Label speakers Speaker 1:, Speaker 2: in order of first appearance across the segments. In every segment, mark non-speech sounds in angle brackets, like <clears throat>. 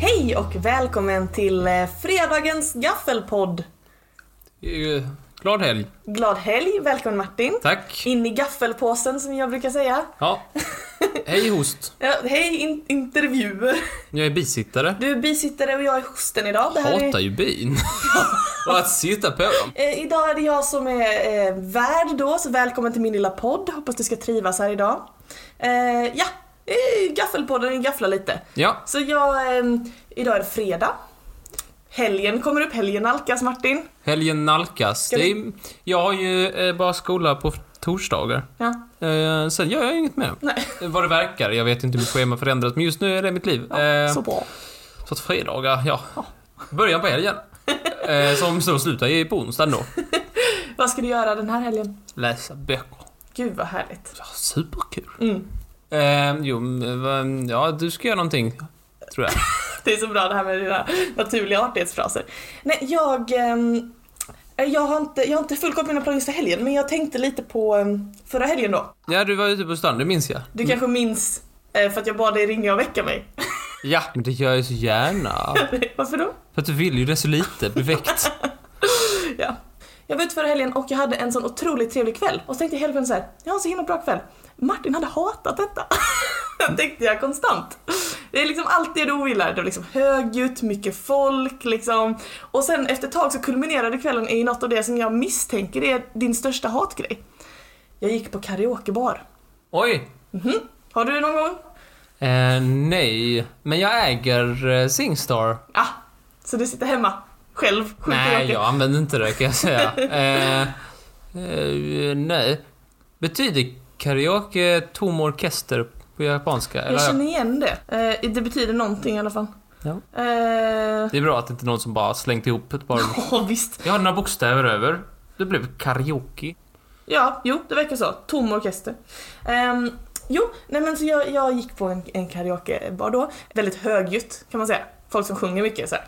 Speaker 1: Hej och välkommen till eh, fredagens gaffelpodd.
Speaker 2: Eh, Glad helg.
Speaker 1: Glad helg, välkommen Martin.
Speaker 2: Tack.
Speaker 1: In i gaffelpåsen som jag brukar säga.
Speaker 2: Ja. Hej host.
Speaker 1: Ja, hej in- intervjuer.
Speaker 2: Jag är bisittare.
Speaker 1: Du är bisittare och jag är hosten idag. Det här
Speaker 2: Hatar
Speaker 1: är,
Speaker 2: ju bin. <laughs> Och att sitta på dem.
Speaker 1: eh, idag är det jag som är eh, värd då, så välkommen till min lilla podd. Hoppas du ska trivas här idag. Eh, ja, eh, gaffelpodden, vi gafflar lite.
Speaker 2: Ja,
Speaker 1: Så jag, eh, idag är det fredag. Helgen kommer upp, helgen nalkas Martin.
Speaker 2: helgen nalkas. Det är, jag har ju eh, bara skola på torsdagar.
Speaker 1: Ja,
Speaker 2: Eh, sen gör jag inget mer.
Speaker 1: nej,
Speaker 2: Eh, Vad det verkar. Jag vet inte hur mitt schema förändras, men just nu är det mitt liv. Eh,
Speaker 1: så bra.
Speaker 2: så att fredagar, ja. Början på helgen. Eh, som så slutar ju på onsdagen då.
Speaker 1: Vad ska du göra den här helgen?
Speaker 2: Läsa böcker.
Speaker 1: Gud vad härligt.
Speaker 2: Ja, superkul.
Speaker 1: Mm.
Speaker 2: Eh, jo, men, vad- ja, du ska göra någonting. Tror jag.
Speaker 1: Det är så bra det här med dina naturliga artighetsfraser. Nej, jag, ehm, jag, har inte, jag har inte full koll på mina planer just för helgen, men jag tänkte lite på ehm, förra helgen då.
Speaker 2: Ja, du var ute på stan, det minns jag.
Speaker 1: Du kanske minns eh, för att jag bad dig ringa och väcka mig. <laughs>
Speaker 2: Ja, men det gör jag så gärna.
Speaker 1: Varför då?
Speaker 2: För att du vill ju det så lite, bli väckt.
Speaker 1: Ja. Jag var ute förra helgen och jag hade en sån otroligt trevlig kväll och så tänkte jag hela kvällen så här, jag har en så himla bra kväll. Martin hade hatat detta. <laughs> tänkte jag konstant. Det är liksom allt det du ogillar. Det var liksom högljutt, mycket folk liksom. Och sen efter ett tag så kulminerade kvällen i något av det som jag misstänker är din största hatgrej. Jag gick på karaokebar.
Speaker 2: Oj!
Speaker 1: Har du det någon gång?
Speaker 2: Eh, nej, men jag äger eh, Singstar.
Speaker 1: Ah, så du sitter hemma själv? sjuk i
Speaker 2: Nej,
Speaker 1: rocken.
Speaker 2: jag använder inte det kan jag säga. Eh, eh, nej. Betyder karaoke tom orkester på japanska?
Speaker 1: Jag
Speaker 2: Eller?
Speaker 1: känner igen det. Eh, det betyder någonting i alla fall.
Speaker 2: Ja.
Speaker 1: Eh, <laughs>
Speaker 2: Det är bra att det inte är någon som bara slängt ihop ett par...
Speaker 1: ja, visst.
Speaker 2: Jag har några bokstäver över. Det blev karaoke.
Speaker 1: Ja, jo, det verkar så. Tom orkester. Ehm, jo, nej men så jag, jag gick på en, en karaokebar då. Väldigt högljutt kan man säga. Folk som sjunger mycket så här.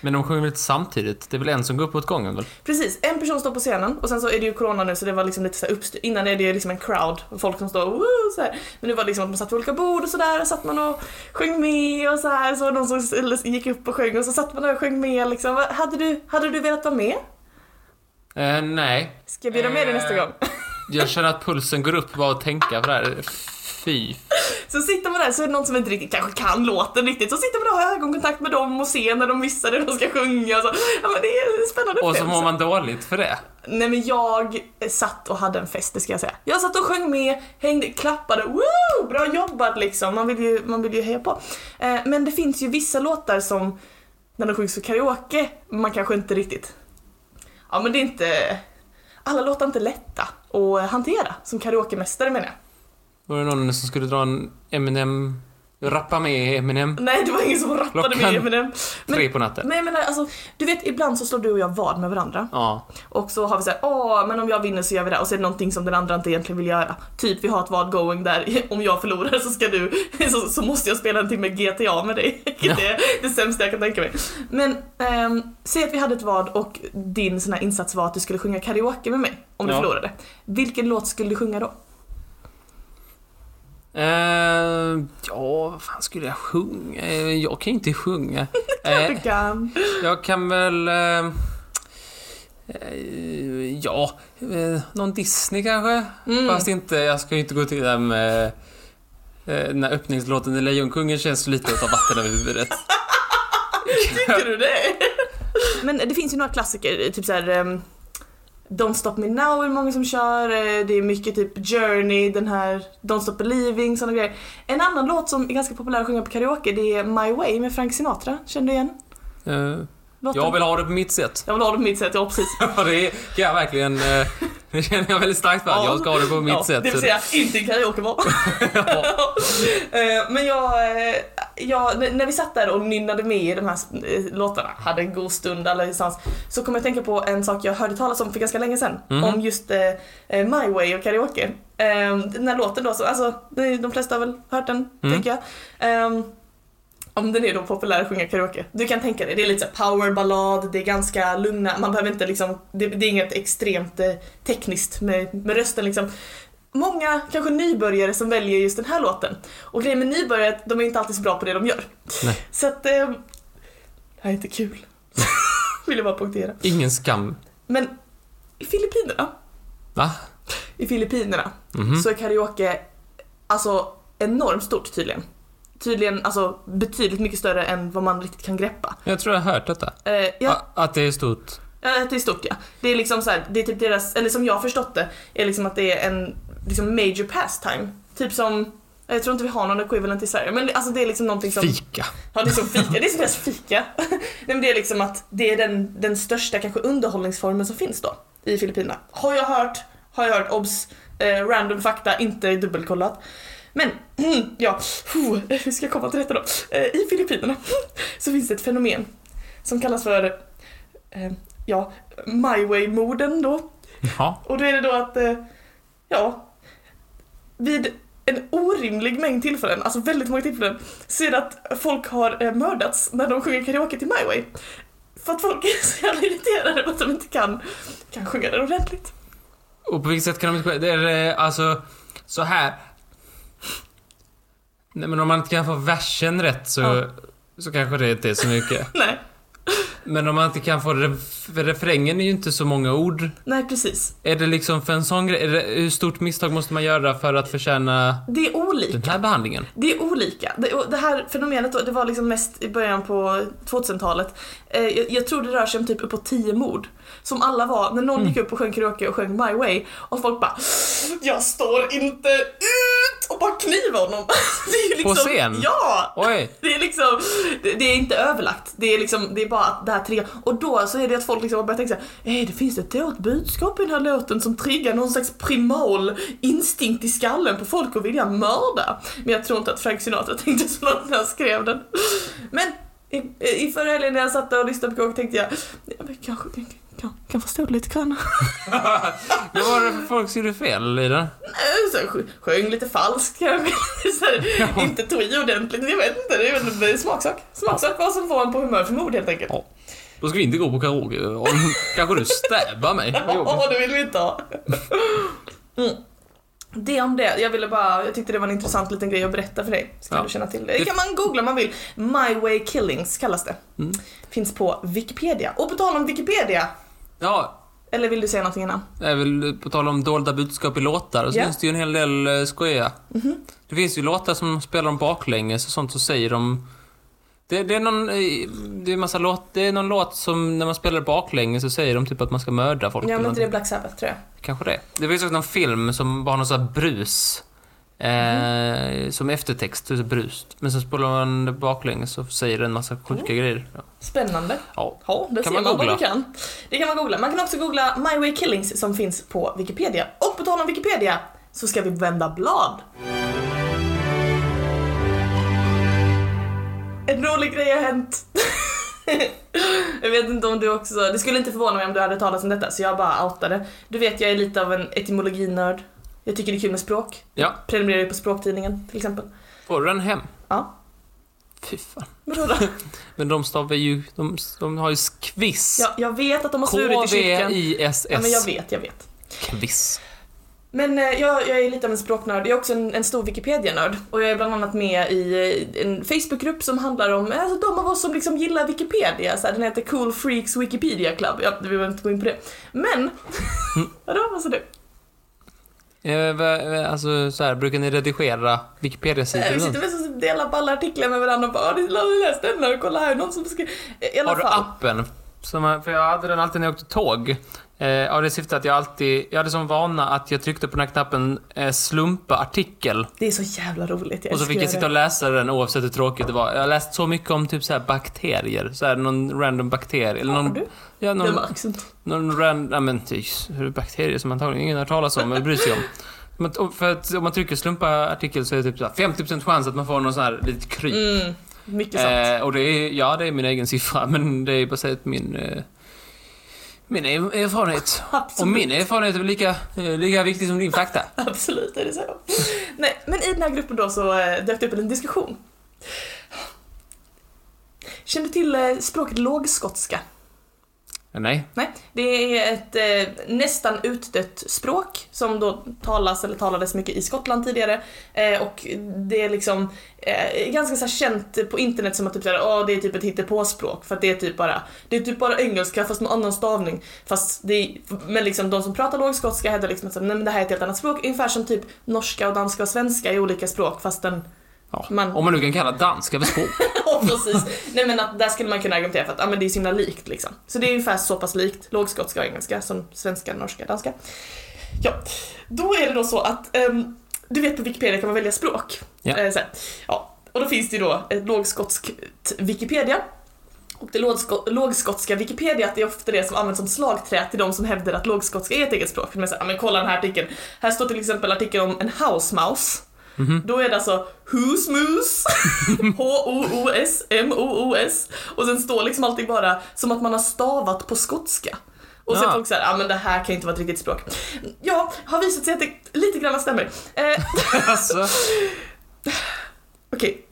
Speaker 2: Men de sjunger väl inte samtidigt? Det är väl en som går upp åt gången väl?
Speaker 1: Precis, en person står på scenen och sen så är det ju corona nu så det var liksom lite så här uppstyrt. Innan är det liksom en crowd och folk som står och woo, så här. Men nu var det liksom att man satt vid olika bord och sådär och satt man och sjöng med och så här. Så var det någon som eller gick upp och sjöng och så satt man och sjöng med liksom. Vad- Hade du, hade du velat vara med?
Speaker 2: Eh, nej,
Speaker 1: Ska jag bjuda med dig nästa
Speaker 2: Eh.
Speaker 1: gång?
Speaker 2: Jag känner att pulsen går upp bara att tänka på det här. Fy.
Speaker 1: Så sitter man där så är det någon som inte riktigt kanske kan låten riktigt, så sitter man och har ögonkontakt med dem och ser när de missar det de ska sjunga. Så, ja men det är en spännande
Speaker 2: Och så
Speaker 1: upplevelse.
Speaker 2: mår man dåligt för det.
Speaker 1: Nej men jag eh, satt och hade en fest, det ska jag säga. Jag satt och sjöng med, hängde, klappade, woo! Bra jobbat liksom, man vill ju, man vill ju heja på. Eh, men det finns ju vissa låtar som, när de sjungs för karaoke, man kanske inte riktigt... Ja men det är inte... Alla låtar är inte lätta att hantera, som karaokemästare menar jag.
Speaker 2: Var det någon som skulle dra en Eminem, rappa med Eminem
Speaker 1: Nej det var ingen som rappade
Speaker 2: Klockan
Speaker 1: med Eminem. Men-
Speaker 2: tre på natten?
Speaker 1: Men jag menar alltså, du vet ibland så slår du och jag vad med varandra
Speaker 2: Ja.
Speaker 1: och så har vi såhär, åh men om jag vinner så gör vi det och så är det någonting som den andra inte egentligen vill göra. Typ vi har ett vad going där, <laughs> om jag förlorar så ska du, <laughs> så, så måste jag spela en timme GTA med dig. <laughs> Vilket är det sämsta jag kan tänka mig. Men ehm, säg att vi hade ett vad och din sån här insats var att du skulle sjunga karaoke med mig om du
Speaker 2: Ja.
Speaker 1: förlorade. Vilken låt skulle du sjunga då?
Speaker 2: Eh, ja, vad fan skulle jag sjunga? Eh, jag kan ju
Speaker 1: <laughs>
Speaker 2: inte sjunga. Eh,
Speaker 1: Du kan.
Speaker 2: jag kan väl... Eh, eh, ja, eh, någon Disney kanske?
Speaker 1: Mm.
Speaker 2: Fast inte, jag ska ju inte gå till den med... Eh, den här öppningslåten i Lejonkungen känns lite att ta vatten över
Speaker 1: <laughs>
Speaker 2: huvudet.
Speaker 1: Tycker du det? <laughs> Men det finns ju några klassiker, typ såhär ehm, Don't Stop Me Now är det många som kör, eh, det är mycket typ Journey, den här Don't Stop Believing, sådana grejer. En annan låt som är ganska populär att sjunga på karaoke det är My Way med Frank Sinatra, känner du igen
Speaker 2: Eh,
Speaker 1: låten?
Speaker 2: jag vill ha det på mitt sätt. <laughs>
Speaker 1: jag vill ha det på mitt sätt, ja precis.
Speaker 2: Ja, det kan jag verkligen... eh, <laughs> Det känner jag väldigt starkt för.
Speaker 1: Ja.
Speaker 2: Jag ska ha det på mitt
Speaker 1: ja,
Speaker 2: sätt.
Speaker 1: Det vill
Speaker 2: så-
Speaker 1: säga, inte en
Speaker 2: <laughs>
Speaker 1: karaokebar. <laughs> Eh, Men jag, eh, jag, n- när vi satt där och nynnade med i de här eh, låtarna, hade en god stund allesammans, så kom jag att tänka på en sak jag hörde talas om för ganska länge sedan,
Speaker 2: Mhm.
Speaker 1: om just eh, eh, My Way och karaoke. Eh, Den här låten då, så, alltså, det- de flesta har väl hört den,
Speaker 2: Mm.
Speaker 1: tänker jag. Eh, om den är då populär att sjunga karaoke. Du kan tänka dig, det är lite så här powerballad, det är ganska lugna, man behöver inte liksom, det, det är inget extremt eh, tekniskt med, med rösten liksom. Många, kanske nybörjare, som väljer just den här låten. Och grejen med nybörjare är att de är inte alltid så bra på det de gör.
Speaker 2: Nej.
Speaker 1: Så att eh, det här är inte kul. <laughs> Vill jag bara poängtera.
Speaker 2: Ingen skam.
Speaker 1: Men i Filippinerna,
Speaker 2: Va?
Speaker 1: i Filippinerna
Speaker 2: Mhm.
Speaker 1: så är karaoke alltså enormt stort tydligen. Tydligen alltså betydligt mycket större än vad man riktigt kan greppa.
Speaker 2: Jag tror jag har hört detta.
Speaker 1: Eh, jag, ja. eh,
Speaker 2: A- Att det är stort.
Speaker 1: det är stort ja. Det är liksom så här, det är typ deras, eller som jag har förstått det, är liksom att det är en liksom major pastime. Typ som, jag tror inte vi har någon equivalent i Sverige, men alltså det är liksom någonting som... <laughs>
Speaker 2: Fika.
Speaker 1: Ja, det är som fika. Det är som deras fika. Nej, men det är liksom att det är den, den största kanske underhållningsformen som finns då i Filippinerna. Har jag hört, har jag hört, obs, eh, random fakta, inte dubbelkollat. Men, <clears throat> ja, huh, hur ska jag komma till detta då? Eh, I Filippinerna <clears throat> så finns det ett fenomen som kallas för, eh, ja, my way-morden då.
Speaker 2: Jaha.
Speaker 1: Och då är det då att, eh, ja, vid en orimlig mängd tillfällen, alltså väldigt många tillfällen, ser det att folk har eh, mördats när de sjunger karaoke till My Way. För att folk <laughs> är så jävla irriterade på att de inte kan, kan sjunga den ordentligt.
Speaker 2: Och på vilket sätt kan de inte... Det är eh, alltså... Så här. Nej men om man inte kan få versen rätt så...
Speaker 1: Ja.
Speaker 2: Så kanske det inte är så mycket.
Speaker 1: Nej,
Speaker 2: Men om man inte kan få... Ref, för refrängen är ju inte så många ord.
Speaker 1: nej precis.
Speaker 2: Är det liksom för en sån grej? är det- Hur stort misstag måste man göra för att förtjäna
Speaker 1: Det är olika.
Speaker 2: den här behandlingen?
Speaker 1: Det är olika. Det, och det här fenomenet då, det var liksom mest i början på 2000-talet. Eh, jag, jag tror det rör sig om typ uppåt 10 mord. Som alla var, när
Speaker 2: Mm.
Speaker 1: någon gick upp och sjöng karaoke och sjöng My Way och folk bara Jag står inte ut! Och bara knivar honom. <laughs> Det är ju
Speaker 2: På
Speaker 1: liksom,
Speaker 2: scen?
Speaker 1: Ja!
Speaker 2: Oj!
Speaker 1: <laughs> Det är liksom, det, det är inte överlagt. Det är liksom, det är bara att det här triggar. Och då så är det att folk liksom har börjat tänka såhär, eh, det finns ett dolt budskap i den här låten som triggar någon slags primal instinkt i skallen på folk att vilja mörda. Men jag tror inte att Frank Sinatra <laughs> tänkte så långt när han skrev den. Men i, i förra helgen när jag satt där och lyssnade på kåk tänkte jag, ja, men kanske kan, kan, kan förstå det lite grann. <laughs>
Speaker 2: Vad var det för folk som gjorde fel i den?
Speaker 1: Eh, Så sj- sjöng lite falskt <laughs> kanske, så här, inte tog i ordentligt, jag vet inte, det är väl en smaksak. Smaksak vad som får en på humör för mord helt enkelt.
Speaker 2: Då ska vi inte gå på karaoke. Om- Kanske du
Speaker 1: <laughs>
Speaker 2: stäbar mig. Vad jobbigt.
Speaker 1: Åh, det vill vi inte ha. Mm. Det om det. Jag ville bara, jag tyckte det var en intressant liten grej att berätta för dig. Så kan
Speaker 2: Ja.
Speaker 1: du känna till det. Det
Speaker 2: Det-
Speaker 1: kan man googla om man vill. My Way Killings kallas det.
Speaker 2: Mm.
Speaker 1: Finns på Wikipedia. Och på tal om Wikipedia.
Speaker 2: Ja,
Speaker 1: Eller vill du säga någonting innan?
Speaker 2: det är väl på tal om dolda budskap i låtar så
Speaker 1: Ja. Mhm.
Speaker 2: finns det ju en hel del eh, skojiga. Det finns ju låtar som spelar dem baklänges och sånt så säger de... Det, det är någon... eh, Det är massa låt... Det är någon låt som när man spelar baklänges så säger de typ att man ska mörda folk.
Speaker 1: Ja,
Speaker 2: eller
Speaker 1: men inte det
Speaker 2: någonting.
Speaker 1: är Black Sabbath tror jag.
Speaker 2: Kanske det. Det finns också någon film som bara har någon sån här brus. Eh,
Speaker 1: Mhm.
Speaker 2: Som eftertext, typ så brus. Men sen spolar man det baklänges och säger en massa sjuka grejer. Ja.
Speaker 1: Spännande.
Speaker 2: Ja.
Speaker 1: Ja, det
Speaker 2: Kan
Speaker 1: ser
Speaker 2: man
Speaker 1: man vad
Speaker 2: googla?
Speaker 1: du kan. Det kan man googla. Man kan också googla My Way Killings som finns på Wikipedia. Och på tal om Wikipedia så ska vi vända blad. En rolig grej har hänt. <laughs> jag vet inte om du också... Det skulle inte förvåna mig om du hade talat om detta så jag bara outade. Du vet, jag är lite av en etymologinörd. Jag tycker det är kul med språk.
Speaker 2: Ja.
Speaker 1: Prenumererar ju på Språktidningen till exempel.
Speaker 2: Får du den hem?
Speaker 1: Ja.
Speaker 2: Fy fan.
Speaker 1: Vadå då?
Speaker 2: <laughs> Men de stavar ju... De, de har ju kviss.
Speaker 1: Jag, jag vet att de har svurit i kyrkan.
Speaker 2: K-V-I-S-S.
Speaker 1: Ja, men jag vet, jag vet.
Speaker 2: Kviss.
Speaker 1: Men eh, jag, jag är lite av en språknörd, jag är också en, en stor Wikipedia-nörd. Och jag är bland annat med i eh, en Facebookgrupp som handlar om eh, alltså, de av oss som liksom gillar Wikipedia. Så här, den heter Cool Freaks Wikipedia Club. Ja, vi behöver inte gå in på det.
Speaker 2: <laughs>
Speaker 1: Men... Vadå, vad sa du?
Speaker 2: Eh, va- va- Alltså så här, brukar ni redigera
Speaker 1: Eh,
Speaker 2: Wikipedia-sidor?
Speaker 1: Vi
Speaker 2: och
Speaker 1: sitter
Speaker 2: sånt?
Speaker 1: med och delar på alla artiklar med varandra och bara "Ah, "Har ni läst den här? Kolla här, någon som skrev... Eh, I alla
Speaker 2: Har du
Speaker 1: fall.
Speaker 2: appen? Som, jag- för jag hade den alltid när jag åkte tåg. Eh, av det syftet att jag alltid... Jag hade som vana att jag tryckte på den här knappen eh, slumpa artikel.
Speaker 1: Det är så jävla roligt, jag
Speaker 2: Och så
Speaker 1: älskar
Speaker 2: fick jag sitta och
Speaker 1: det.
Speaker 2: läsa den oavsett hur tråkigt det var. Jag har läst så mycket om typ så här bakterier. Så här, någon random bakterie. Eller
Speaker 1: Har
Speaker 2: någon,
Speaker 1: du?
Speaker 2: ja,
Speaker 1: Det
Speaker 2: någon
Speaker 1: var accent.
Speaker 2: Någon random, ja men ty, hur är bakterier som antagligen ingen har hört talas om eller bryr sig om. Men t- för att om man trycker slumpa artikel så är det typ så här 50% chans att man får någon sån här litet kryp.
Speaker 1: Mm, mycket sant.
Speaker 2: eh, och det är, ja det är min egen siffra men det är baserat på min, eh, min er- erfarenhet. Och
Speaker 1: Absolut.
Speaker 2: min erfarenhet är väl lika, eh, lika viktig som din fakta.
Speaker 1: <laughs> Absolut är det så. Nej, men i den här gruppen då så eh, dök det upp en diskussion. Känner du till eh, språket lågskotska?
Speaker 2: Nej.
Speaker 1: Nej, det är ett eh, nästan utdött språk som då talas eller talades mycket i Skottland tidigare. Eh, och det är liksom eh, ganska så här känt på internet som att typ såhär, åh det är typ ett hittepåspråk för att det är typ bara, det är typ bara engelska fast med annan stavning. Fast det är, men liksom de som pratar lågskotska hävdar liksom att så här, nej men det här är ett helt annat språk. Ungefär som typ norska och danska och svenska är olika språk fast den
Speaker 2: Ja.
Speaker 1: Man-
Speaker 2: Om man nu kan kalla danska för språk.
Speaker 1: <laughs> Ja, precis. Nej men att där skulle man kunna argumentera för att ah, men det är så himla likt liksom. Så det är ungefär så pass likt lågskotska och engelska som svenska, norska, danska. Ja, då är det då så att ehm, du vet på Wikipedia kan man välja språk.
Speaker 2: Ja.
Speaker 1: Eh, så här. ja. Och då finns det ju då ett lågskotskt Wikipedia. Och det lågsko- lågskotska Wikipedia det är ofta det som används som slagträ till de som hävdar att lågskotska är ett eget språk. För de är såhär, ah, men kolla den här artikeln. Här står till exempel artikeln om en house mouse. Då är det alltså Who's <laughs> Moose? H-O-O-S-M-O-O-S. Och sen står liksom allting bara som att man har stavat på skotska. Och sen
Speaker 2: Ah.
Speaker 1: folk såhär, ja ah, men det här kan ju inte vara ett riktigt språk. Ja, har visat sig att det lite grann stämmer. Eh,
Speaker 2: Alltså,
Speaker 1: Okej.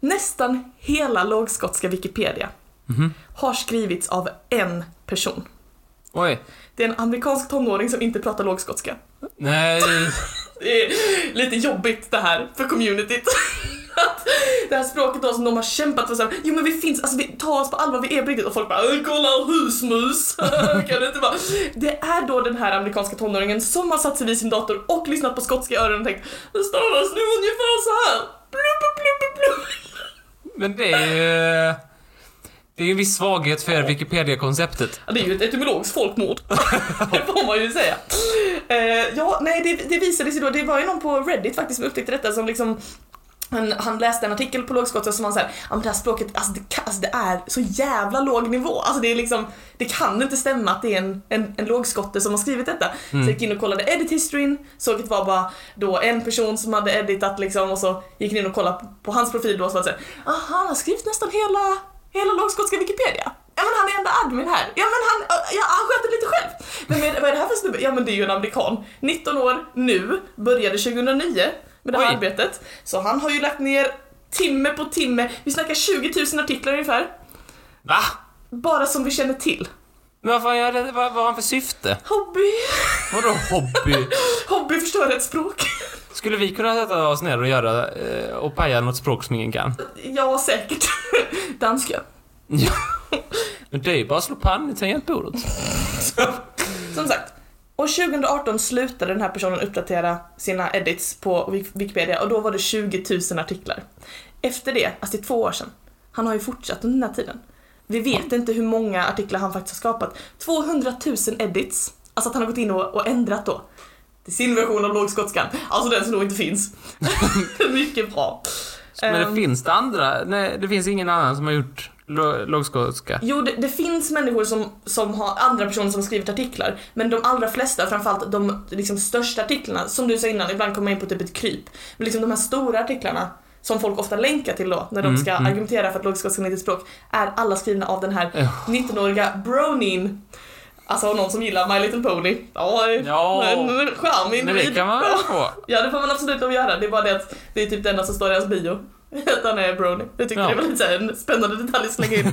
Speaker 1: Nästan hela lågskotska Wikipedia har skrivits av en person.
Speaker 2: oj.
Speaker 1: Det är en amerikansk tonåring som inte pratar lågskotska.
Speaker 2: Nej.
Speaker 1: Det är lite jobbigt det här för communityt. <laughs> Att det här språket då som de har kämpat för, så här, jo men vi finns, alltså vi tar oss på allvar, vi är på riktigt. Och folk bara "Äh, “kolla husmus”. <laughs> kan det, inte vara? det är då den här amerikanska tonåringen som har satt sig vid sin dator och lyssnat på skotska i öronen och tänkt “det stavas nu ungefär så här. Blubb, blubb, blubb.
Speaker 2: Men det är ju... eh, Det är ju en viss svaghet för Wikipedia-konceptet.
Speaker 1: Ja, det är ju ett etymologiskt folkmord. det får man ju säga. Eh, ja, nej, det, det visade sig då, det var ju någon på Reddit faktiskt som upptäckte detta som liksom han, han läste en artikel på lågskotska som han såhär, ja men det här språket, alltså det, kan- alltså det är så jävla låg nivå. Alltså det är liksom, det kan inte stämma att det är en, en, en lågskotte som har skrivit detta. Så jag gick in och kollade edit historyn, såg att det var bara då en person som hade editat liksom och så gick ni in och kollade på hans profil då och så var det såhär, aha han har skrivit nästan hela, hela lågskotska Wikipedia. Ja men han är enda admin här. Ja men han, ja, han sköter lite själv. Men med, vad är det här för snubbe? Ja men det är ju en amerikan. 19 år nu, började 2009 med det här
Speaker 2: Oj.
Speaker 1: arbetet. Så han har ju lagt ner timme på timme, vi snackar 20 000 artiklar ungefär.
Speaker 2: Va?
Speaker 1: Bara som vi känner till.
Speaker 2: Men vad fan gör det? Vad, vad har han för syfte?
Speaker 1: Hobby, <laughs>
Speaker 2: Vadå hobby?
Speaker 1: hobby förstör ett språk.
Speaker 2: Skulle vi kunna sätta oss ner och göra eh, och paja något språk som ingen kan?
Speaker 1: <laughs> Ja säkert. <laughs> Danska.
Speaker 2: Ja. Men det är ju bara att slå pann i tangentbordet.
Speaker 1: Som sagt, år 2018 slutade den här personen uppdatera sina edits på Wik- Wikipedia och då var det 20 000 artiklar. Efter det, alltså det är två år sedan, han har ju fortsatt under den här tiden. Vi vet inte hur många artiklar han faktiskt har skapat. 200 000 edits, alltså att han har gått in och, och ändrat då. Till sin version av lågskotskan, alltså den som nog inte finns. <laughs> Mycket bra.
Speaker 2: Men
Speaker 1: Ehm.
Speaker 2: det finns det andra? Nej, det finns ingen annan som har gjort lo- lågskotska.
Speaker 1: Jo, det, det finns människor som, som har andra personer som har skrivit artiklar, men de allra flesta, framförallt de liksom, största artiklarna, som du sa innan, ibland kommer man in på typ ett kryp, men liksom de här stora artiklarna som folk ofta länkar till då när
Speaker 2: Mm,
Speaker 1: de ska argumentera för att lågskotskan är ett språk, är alla skrivna av den här 19-åriga bronin. Alltså någon som gillar My Little Pony. Ja,
Speaker 2: Ja.
Speaker 1: en en charmig
Speaker 2: Men det
Speaker 1: individ.
Speaker 2: kan man väl få?
Speaker 1: <laughs> Ja, det får man absolut lov att göra. Det är bara det att det är typ det enda som står i hans bio. <laughs> Att han är brony. Jag tyckte
Speaker 2: Ja.
Speaker 1: det var lite så här en spännande detalj att slänga in.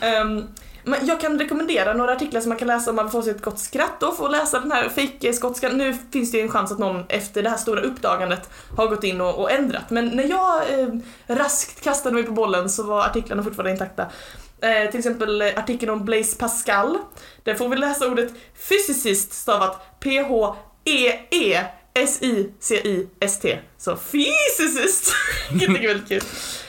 Speaker 1: Ehm, men jag kan rekommendera några artiklar som man kan läsa om man vill få sig ett gott skratt då för att läsa den här fejkskotskan. Nu finns det ju en chans att någon efter det här stora uppdagandet har gått in och, och ändrat. Men när jag eh, raskt kastade mig på bollen så var artiklarna fortfarande intakta. Eh, till exempel eh, artikeln om Blaise Pascal. Där får vi läsa ordet physicist stavat E P-H-E-E S-I-C-I-S-T. Så <laughs> physicist! Vilket är väldigt kul.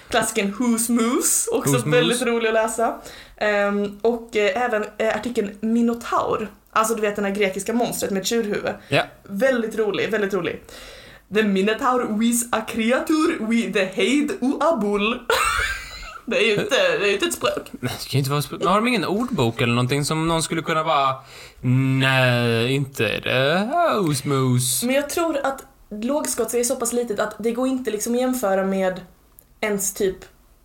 Speaker 1: Klassikern Who's Moose, också
Speaker 2: Who's
Speaker 1: väldigt
Speaker 2: Moose?
Speaker 1: rolig att läsa. Ehm, och eh, även eh, artikeln Minotaur. Alltså du vet den här grekiska monstret med ett tjurhuvud.
Speaker 2: Ja.
Speaker 1: Väldigt rolig, väldigt rolig. The Minotaur with a creature with the head uabul. <laughs> det är ju inte, det är ju inte ett språk.
Speaker 2: Men det kan ju inte vara... sp- Men har de ingen ordbok eller någonting som någon skulle kunna bara... Nej, inte det. Housemous.
Speaker 1: Men jag tror att lågskotska är så pass litet att det går inte liksom att jämföra med ens typ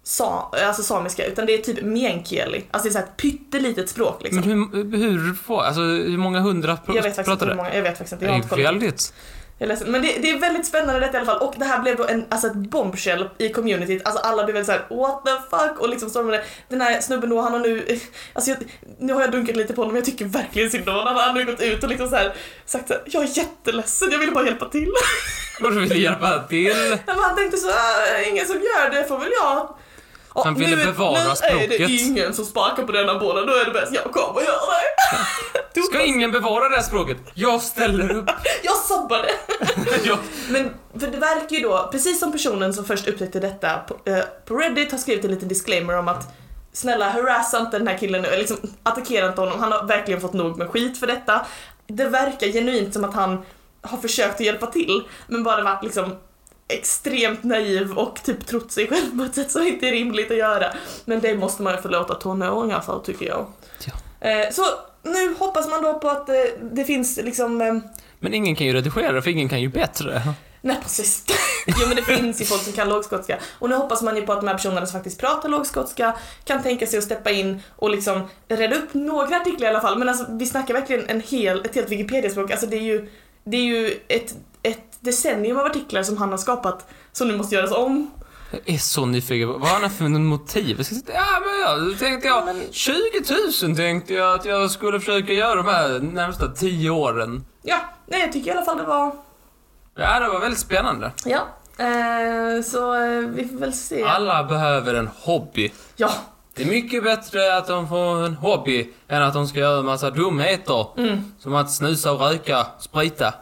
Speaker 1: sa, alltså samiska, utan det är typ meänkieli. Alltså det är så här ett pyttelitet språk liksom.
Speaker 2: Men hur, hur, få- alltså, hur många hundra pr-
Speaker 1: Jag vet faktiskt inte
Speaker 2: pratar
Speaker 1: hur
Speaker 2: det?
Speaker 1: många, jag vet faktiskt inte,
Speaker 2: Det
Speaker 1: jag har inte
Speaker 2: är
Speaker 1: kollat.
Speaker 2: väldigt.
Speaker 1: Jag är ledsen. Men det, det är väldigt spännande detta i alla fall och det här blev då en, alltså ett bombshell i communityt. Alltså alla blev väldigt såhär what the fuck och liksom stormade. Den här snubben då han har nu, <laughs> alltså jag, nu har jag dunkat lite på honom men jag tycker verkligen synd om honom. Han har nu gått ut och liksom så här, sagt såhär jag är jätteledsen, jag ville bara hjälpa till. <laughs>
Speaker 2: Varför vill du hjälpa till?
Speaker 1: Men han tänkte så "Äh, ingen som gör det får väl jag. Ja,
Speaker 2: Han ville
Speaker 1: nu,
Speaker 2: bevara
Speaker 1: Nu är det
Speaker 2: språket.
Speaker 1: ingen som sparkar på denna bollen, då är det bäst jag kommer göra det.
Speaker 2: Ska ingen bevara det här språket? Jag ställer <laughs> upp.
Speaker 1: Jag sabbar det.
Speaker 2: Jag...
Speaker 1: Men för det verkar ju då, precis som personen som först upptäckte detta på, eh, på Reddit har skrivit en liten disclaimer om att snälla harassa inte den här killen nu, eller liksom attackera inte honom, han har verkligen fått nog med skit för detta. Det verkar genuint som att han har försökt att hjälpa till men bara varit liksom extremt naiv och typ trott sig själv på ett sätt som inte är rimligt att göra. Men det måste man ju förlåta tonåringar för tycker jag.
Speaker 2: Ja.
Speaker 1: Eh, så nu hoppas man då på att eh, det finns liksom eh,
Speaker 2: Men ingen kan ju redigera, för ingen kan ju bättre.
Speaker 1: Nej precis. <laughs> jo men det finns ju folk som kan lågskotska. Och nu hoppas man ju på att de här personerna som faktiskt pratar lågskotska kan tänka sig att steppa in och liksom rädda upp några artiklar i alla fall. Men alltså vi snackar verkligen en hel, ett helt Wikipedia-språk. Alltså det är ju, det är ju ett, ett decennium av artiklar som han har skapat som nu måste göras om.
Speaker 2: Jag är så nyfiken. på- Vad har han för motiv? Jag ska sitta- Ja, men jag då tänkte jag, 20 000 tänkte jag att jag skulle försöka göra de här närmsta 10 åren.
Speaker 1: Ja, nej jag tycker i alla fall det var,
Speaker 2: Ja, det var väldigt spännande.
Speaker 1: ja. Eh, så eh, vi får väl se.
Speaker 2: Alla behöver en hobby.
Speaker 1: Ja,
Speaker 2: Det är mycket bättre att de får en hobby än att de ska göra en massa dumheter.
Speaker 1: Mm.
Speaker 2: Som att snusa och röka, sprita.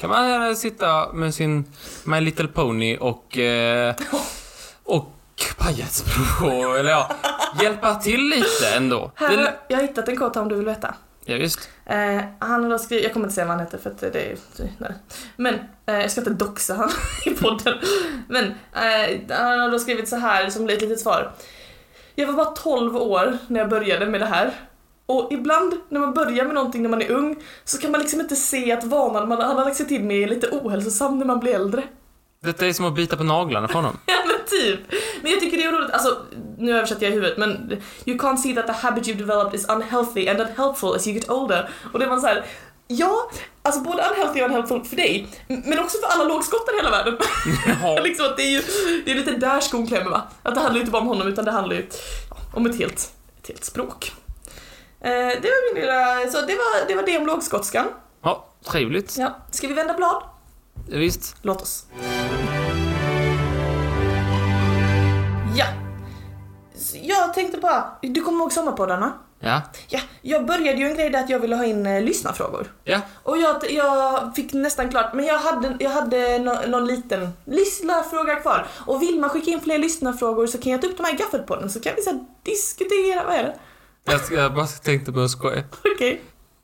Speaker 2: Kan man eh, sitta med sin My Little Pony och... Eh, och pajasprov, eller ja, hjälpa till lite ändå.
Speaker 1: här,
Speaker 2: Det,
Speaker 1: jag har hittat en kort om du vill veta.
Speaker 2: ja, visst.
Speaker 1: Eh, han har då skrivit, jag kommer inte säga vad han heter för att det är, nej. Men, eh, jag ska inte doxa han <laughs> i podden. Men, eh, han har då skrivit så här som ett litet svar. Jag var bara 12 år när jag började med det här. Och ibland när man börjar med någonting när man är ung så kan man liksom inte se att vanan man han har lagt sig till med är lite ohälsosam när man blir äldre.
Speaker 2: Detta är som att bita på naglarna på honom.
Speaker 1: Ja <laughs> men typ. Men jag tycker det är roligt, alltså nu översätter jag i huvudet men You can't see that the habit you've developed is unhealthy and unhelpful as you get older. Och det var så här. Ja, alltså både unhealthy och unhelpful för dig, m- men också för alla lågskottare i hela världen. <laughs>
Speaker 2: Jaha.
Speaker 1: liksom att det är ju det är lite där skon klämmer va? Att det handlar ju inte bara om honom utan det handlar ju ja, om ett helt, ett helt språk. Eh, det var min lilla, så det var det, var det om lågskotskan.
Speaker 2: Ja, trevligt.
Speaker 1: Ja. Ska vi vända blad?
Speaker 2: Visst.
Speaker 1: Låt oss. Ja. Så Jag tänkte bara, du kommer ihåg sommarpoddarna?
Speaker 2: Ja.
Speaker 1: Ja, jag började ju en grej där att jag ville ha in eh, lyssnarfrågor.
Speaker 2: Ja.
Speaker 1: Och jag, jag fick nästan klart, men jag hade, jag hade nå- någon liten lyssnarfråga kvar. Och vill man skicka in fler lyssnarfrågor så kan jag ta upp de här i gaffelpodden så kan vi så här diskutera, vad är det? <laughs>
Speaker 2: Jag, ska, jag bara tänkte på att skoja.
Speaker 1: Okej.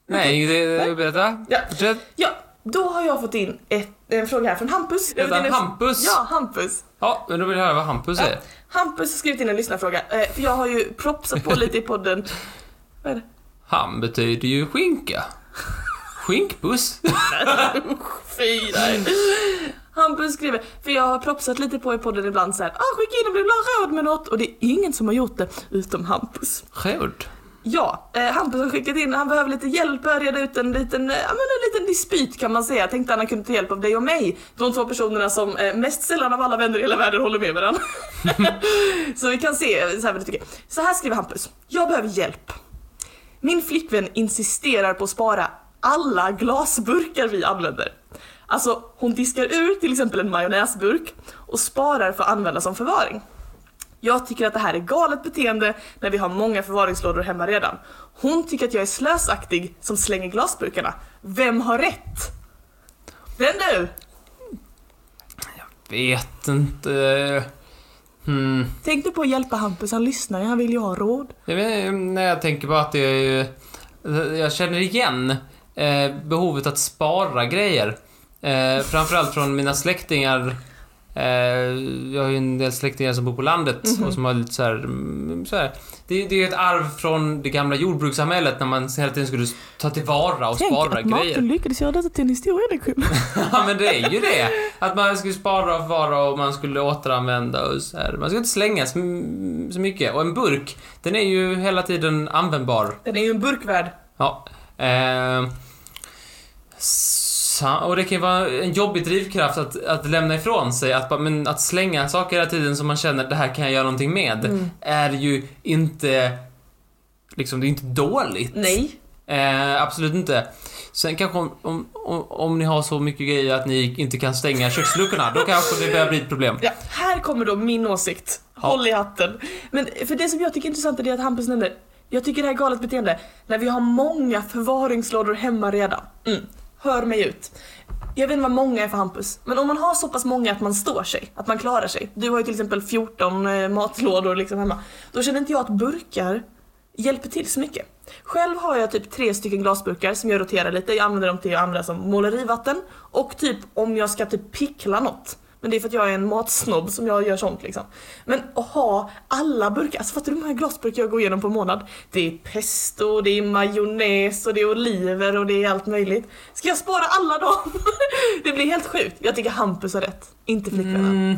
Speaker 2: Nej, det, berätta.
Speaker 1: Ja.
Speaker 2: Fortsätt.
Speaker 1: Ja, då har jag fått in ett, en fråga här från Hampus. Jag
Speaker 2: Vänta,
Speaker 1: vet inte-
Speaker 2: Hampus?
Speaker 1: Ja, Hampus.
Speaker 2: Ja, men då vill jag höra vad Hampus säger.
Speaker 1: Hampus har skrivit in en lyssnarfråga, eh, för jag har ju propsat på lite i podden. Vad är det?
Speaker 2: Han betyder ju skinka. Skinkbuss.
Speaker 1: Fy, nej. Hampus skriver, för jag har propsat lite på i podden ibland så här, ah, skicka in om du vill ha råd med något och det är ingen som har gjort det utom Hampus.
Speaker 2: Råd.
Speaker 1: Ja, eh, Hampus har skickat in, han behöver lite hjälp att reda ut en liten, eh, ja men en liten dispyt kan man säga. Jag tänkte att han kunde ta hjälp av dig och mig. De två personerna som eh, mest sällan av alla vänner i hela världen håller med varandra. <laughs> så vi kan se eh, så här vad du tycker. Så här skriver Hampus. Jag behöver hjälp. Min flickvän insisterar på att spara alla glasburkar vi använder. Alltså hon diskar ur till exempel en majonnäsburk och sparar för att använda som förvaring. Jag tycker att det här är galet beteende när vi har många förvaringslådor hemma redan. Hon tycker att jag är slösaktig som slänger glasburkarna. Vem har rätt? Den du!
Speaker 2: Vet inte. Hmm.
Speaker 1: Tänk du på att hjälpa Hampus, han lyssnar ju, han vill ju ha råd.
Speaker 2: Jag, vet, nej, jag tänker bara att det är ju... Jag känner igen eh, behovet att spara grejer. Eh, framförallt från mina släktingar. Eh, jag har ju en del släktingar som bor på landet och som har lite så här, mm, så här. Det, det är ju ett arv från det gamla jordbrukssamhället när man hela tiden skulle ta tillvara och spara grejer.
Speaker 1: lyckades göra detta till en historielektion.
Speaker 2: Ja men det är ju det. Att man skulle spara och förvara och man skulle återanvända och så här. Man ska inte slänga så, så mycket. Och en burk, den är ju hela tiden användbar.
Speaker 1: Den är ju en burkvärd.
Speaker 2: Ja. Eh, s- Sa- Och det kan ju vara en jobbig drivkraft att, att lämna ifrån sig. Att, bara- men att slänga saker hela tiden som man känner det här kan jag göra någonting med. Är ju inte... Liksom, det är inte dåligt.
Speaker 1: Nej.
Speaker 2: Eh, absolut inte. Sen kanske om, om, om, om ni har så mycket grejer att ni inte kan stänga köksluckorna, då kanske det börjar bli ett problem.
Speaker 1: Ja, här kommer då min åsikt. Håll i hatten. Men för det som jag tycker är intressant är det att Hampus nämner, jag tycker det här är galet beteende, när vi har många förvaringslådor hemma redan. Mm. Hör mig ut. Jag vet inte vad många är för Hampus, men om man har så pass många att man står sig, att man klarar sig. Du har ju till exempel 14 eh, matlådor liksom hemma. Då känner inte jag att burkar hjälper till så mycket. Själv har jag typ tre stycken glasburkar som jag roterar lite. Jag använder dem till att använda som målerivatten och typ om jag ska typ pickla något. Men det är för att jag är en matsnobb som jag gör sånt liksom. Men att ha alla burkar, alltså fattar du hur många glasburkar jag går igenom på en månad? Det är pesto, det är majonnäs och det är oliver och det är allt möjligt. Ska jag spara alla dem? <laughs> det blir helt sjukt. Jag tycker Hampus har rätt, inte flickvännen.
Speaker 2: Mm,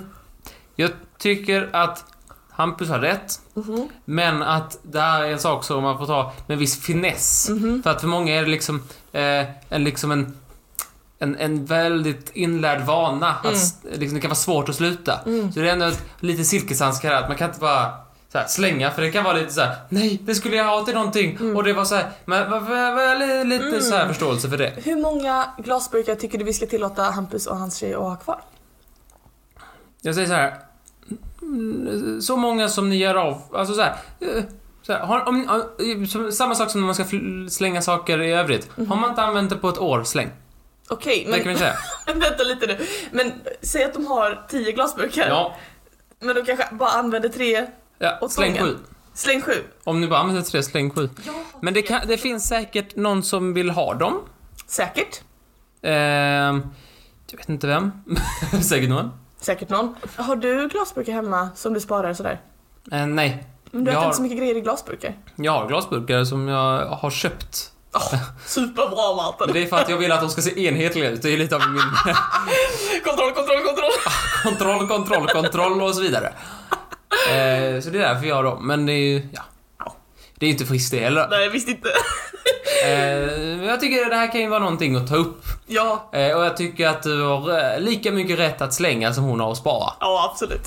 Speaker 2: jag tycker att Hampus har rätt,
Speaker 1: Mhm.
Speaker 2: men att det här är en sak som man får ta med viss finess. För att för många är det liksom, eh, en, liksom en, en, en väldigt inlärd vana. Att, s- liksom, det kan vara svårt att sluta. Så det är ändå ett, lite silkeshandskar här, att man kan inte bara så här, slänga, för det kan vara lite så här: nej, det skulle jag ha till någonting. Och det var så här, men va- va- va- li- lite så här förståelse för det.
Speaker 1: Hur många glasburkar tycker du vi ska tillåta Hampus och hans tjej att ha kvar?
Speaker 2: Jag säger så här. mm, Så många som ni gör av. Alltså så här. eh, Så här har, om, om, som- samma sak som när man ska fl- slänga saker i övrigt. Har man inte använt det på ett år, släng.
Speaker 1: Okej,
Speaker 2: Det kan vi
Speaker 1: Mhm. men <laughs>
Speaker 2: säga.
Speaker 1: vänta lite nu. Men säg att de har 10 glasburkar,
Speaker 2: Ja,
Speaker 1: men de kanske bara använder tre.
Speaker 2: ja
Speaker 1: Åt
Speaker 2: släng
Speaker 1: gången.
Speaker 2: sju.
Speaker 1: Släng sju.
Speaker 2: Om ni bara använder tre, släng sju.
Speaker 1: Ja.
Speaker 2: Men det, kan, det finns säkert någon som vill ha dem.
Speaker 1: Säkert.
Speaker 2: Ehm, jag vet inte vem. <laughs> säkert någon.
Speaker 1: Säkert någon. Har du glasburkar hemma som du sparar sådär?
Speaker 2: Eh, nej,
Speaker 1: Men du
Speaker 2: Jag
Speaker 1: äter
Speaker 2: har-
Speaker 1: inte så mycket grejer i glasburkar.
Speaker 2: jag har glasburkar som jag har köpt.
Speaker 1: Oh, superbra
Speaker 2: Men
Speaker 1: Martin!
Speaker 2: det är för att jag vill att de ska se enhetliga ut. Det är lite av min
Speaker 1: Kontroll, kontroll, kontroll!
Speaker 2: kontroll, kontroll, kontroll och så vidare. Eh, så det är därför jag har dem. Men det är ju, ja. Det är ju inte friskt det heller.
Speaker 1: Nej, visst inte. <laughs>
Speaker 2: Eh, men jag tycker det här kan ju vara någonting att ta upp.
Speaker 1: Ja,
Speaker 2: Eh, och jag tycker att du har eh, lika mycket rätt att slänga som hon har att spara.
Speaker 1: ja absolut.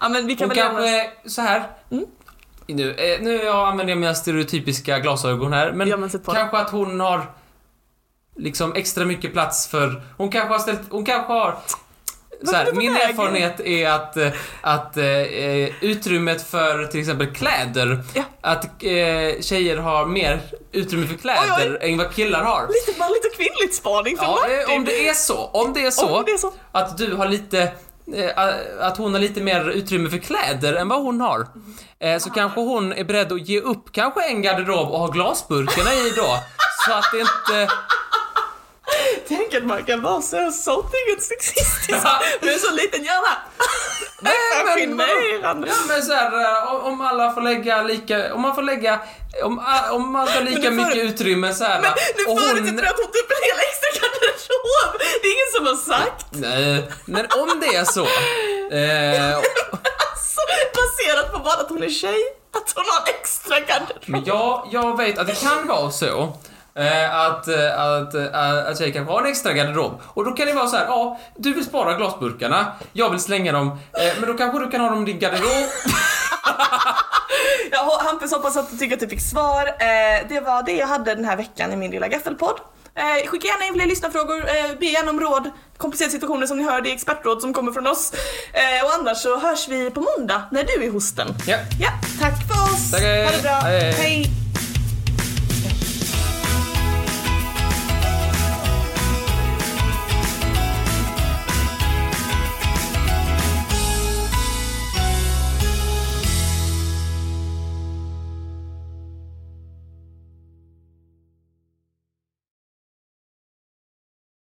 Speaker 1: Ja men vi kan
Speaker 2: Hon
Speaker 1: väl lämna-
Speaker 2: kanske, så här.
Speaker 1: Mm.
Speaker 2: Nu, eh, nu jag använder jag mina stereotypiska glasögon här, men
Speaker 1: Ja, men sätt på det.
Speaker 2: kanske att hon har liksom extra mycket plats för... Hon kanske har ställt... Hon kanske har...
Speaker 1: Vart
Speaker 2: Så
Speaker 1: är
Speaker 2: här,
Speaker 1: du på
Speaker 2: min
Speaker 1: väg?
Speaker 2: erfarenhet är att, eh, att eh, eh, utrymmet för till exempel kläder,
Speaker 1: Ja.
Speaker 2: att eh, tjejer har mer utrymme för kläder än vad killar har.
Speaker 1: Lite manligt och kvinnligt spaning för
Speaker 2: Ja,
Speaker 1: Martin!
Speaker 2: eh, om det är så, om det är så,
Speaker 1: Om det är så.
Speaker 2: att du har lite eh, att hon har lite mer utrymme för kläder än vad hon har. Eh, Så kanske hon är beredd att ge upp kanske en garderob och ha glasburkarna i då. Så att det inte...
Speaker 1: Tänk att man kan vara så såntingen sexistisk med så liten hjärna. <laughs>
Speaker 2: Nej, men,
Speaker 1: Fascinerande.
Speaker 2: ja, men så här, eh, om- om alla får lägga lika... Om man får lägga... Om, a- om man får lika
Speaker 1: nu får-
Speaker 2: mycket utrymme så här.
Speaker 1: Men
Speaker 2: va,
Speaker 1: nu
Speaker 2: och hon-
Speaker 1: förutsätter du att hon typ tar upp en hel extra garderob! Det är ingen som har sagt
Speaker 2: Nej, men om det är så. Eh,
Speaker 1: så, alltså, baserat på bara att hon är tjej, att hon har en extra garderob.
Speaker 2: Men jag, jag vet att det kan vara så eh, att, eh, att, eh, att tjejer kanske har en extra garderob. Och då kan det vara så här, ja, du vill spara glasburkarna, jag vill slänga dem, eh, men då kanske du kan ha dem i din garderob.
Speaker 1: Jag ho- Hampus hoppas att du tycker att du fick svar. Eh, det var det jag hade den här veckan i min lilla gaffelpodd. Eh, skicka gärna in fler lyssnarfrågor, eh, be gärna om råd, komplicerade situationer som ni hör, det är expertråd som kommer från oss. Eh, och annars så hörs vi på måndag när du är hosten.
Speaker 2: Ja.
Speaker 1: Ja, tack för oss!
Speaker 2: Tack, hej.
Speaker 1: ha det bra!
Speaker 2: Hej.
Speaker 1: hej.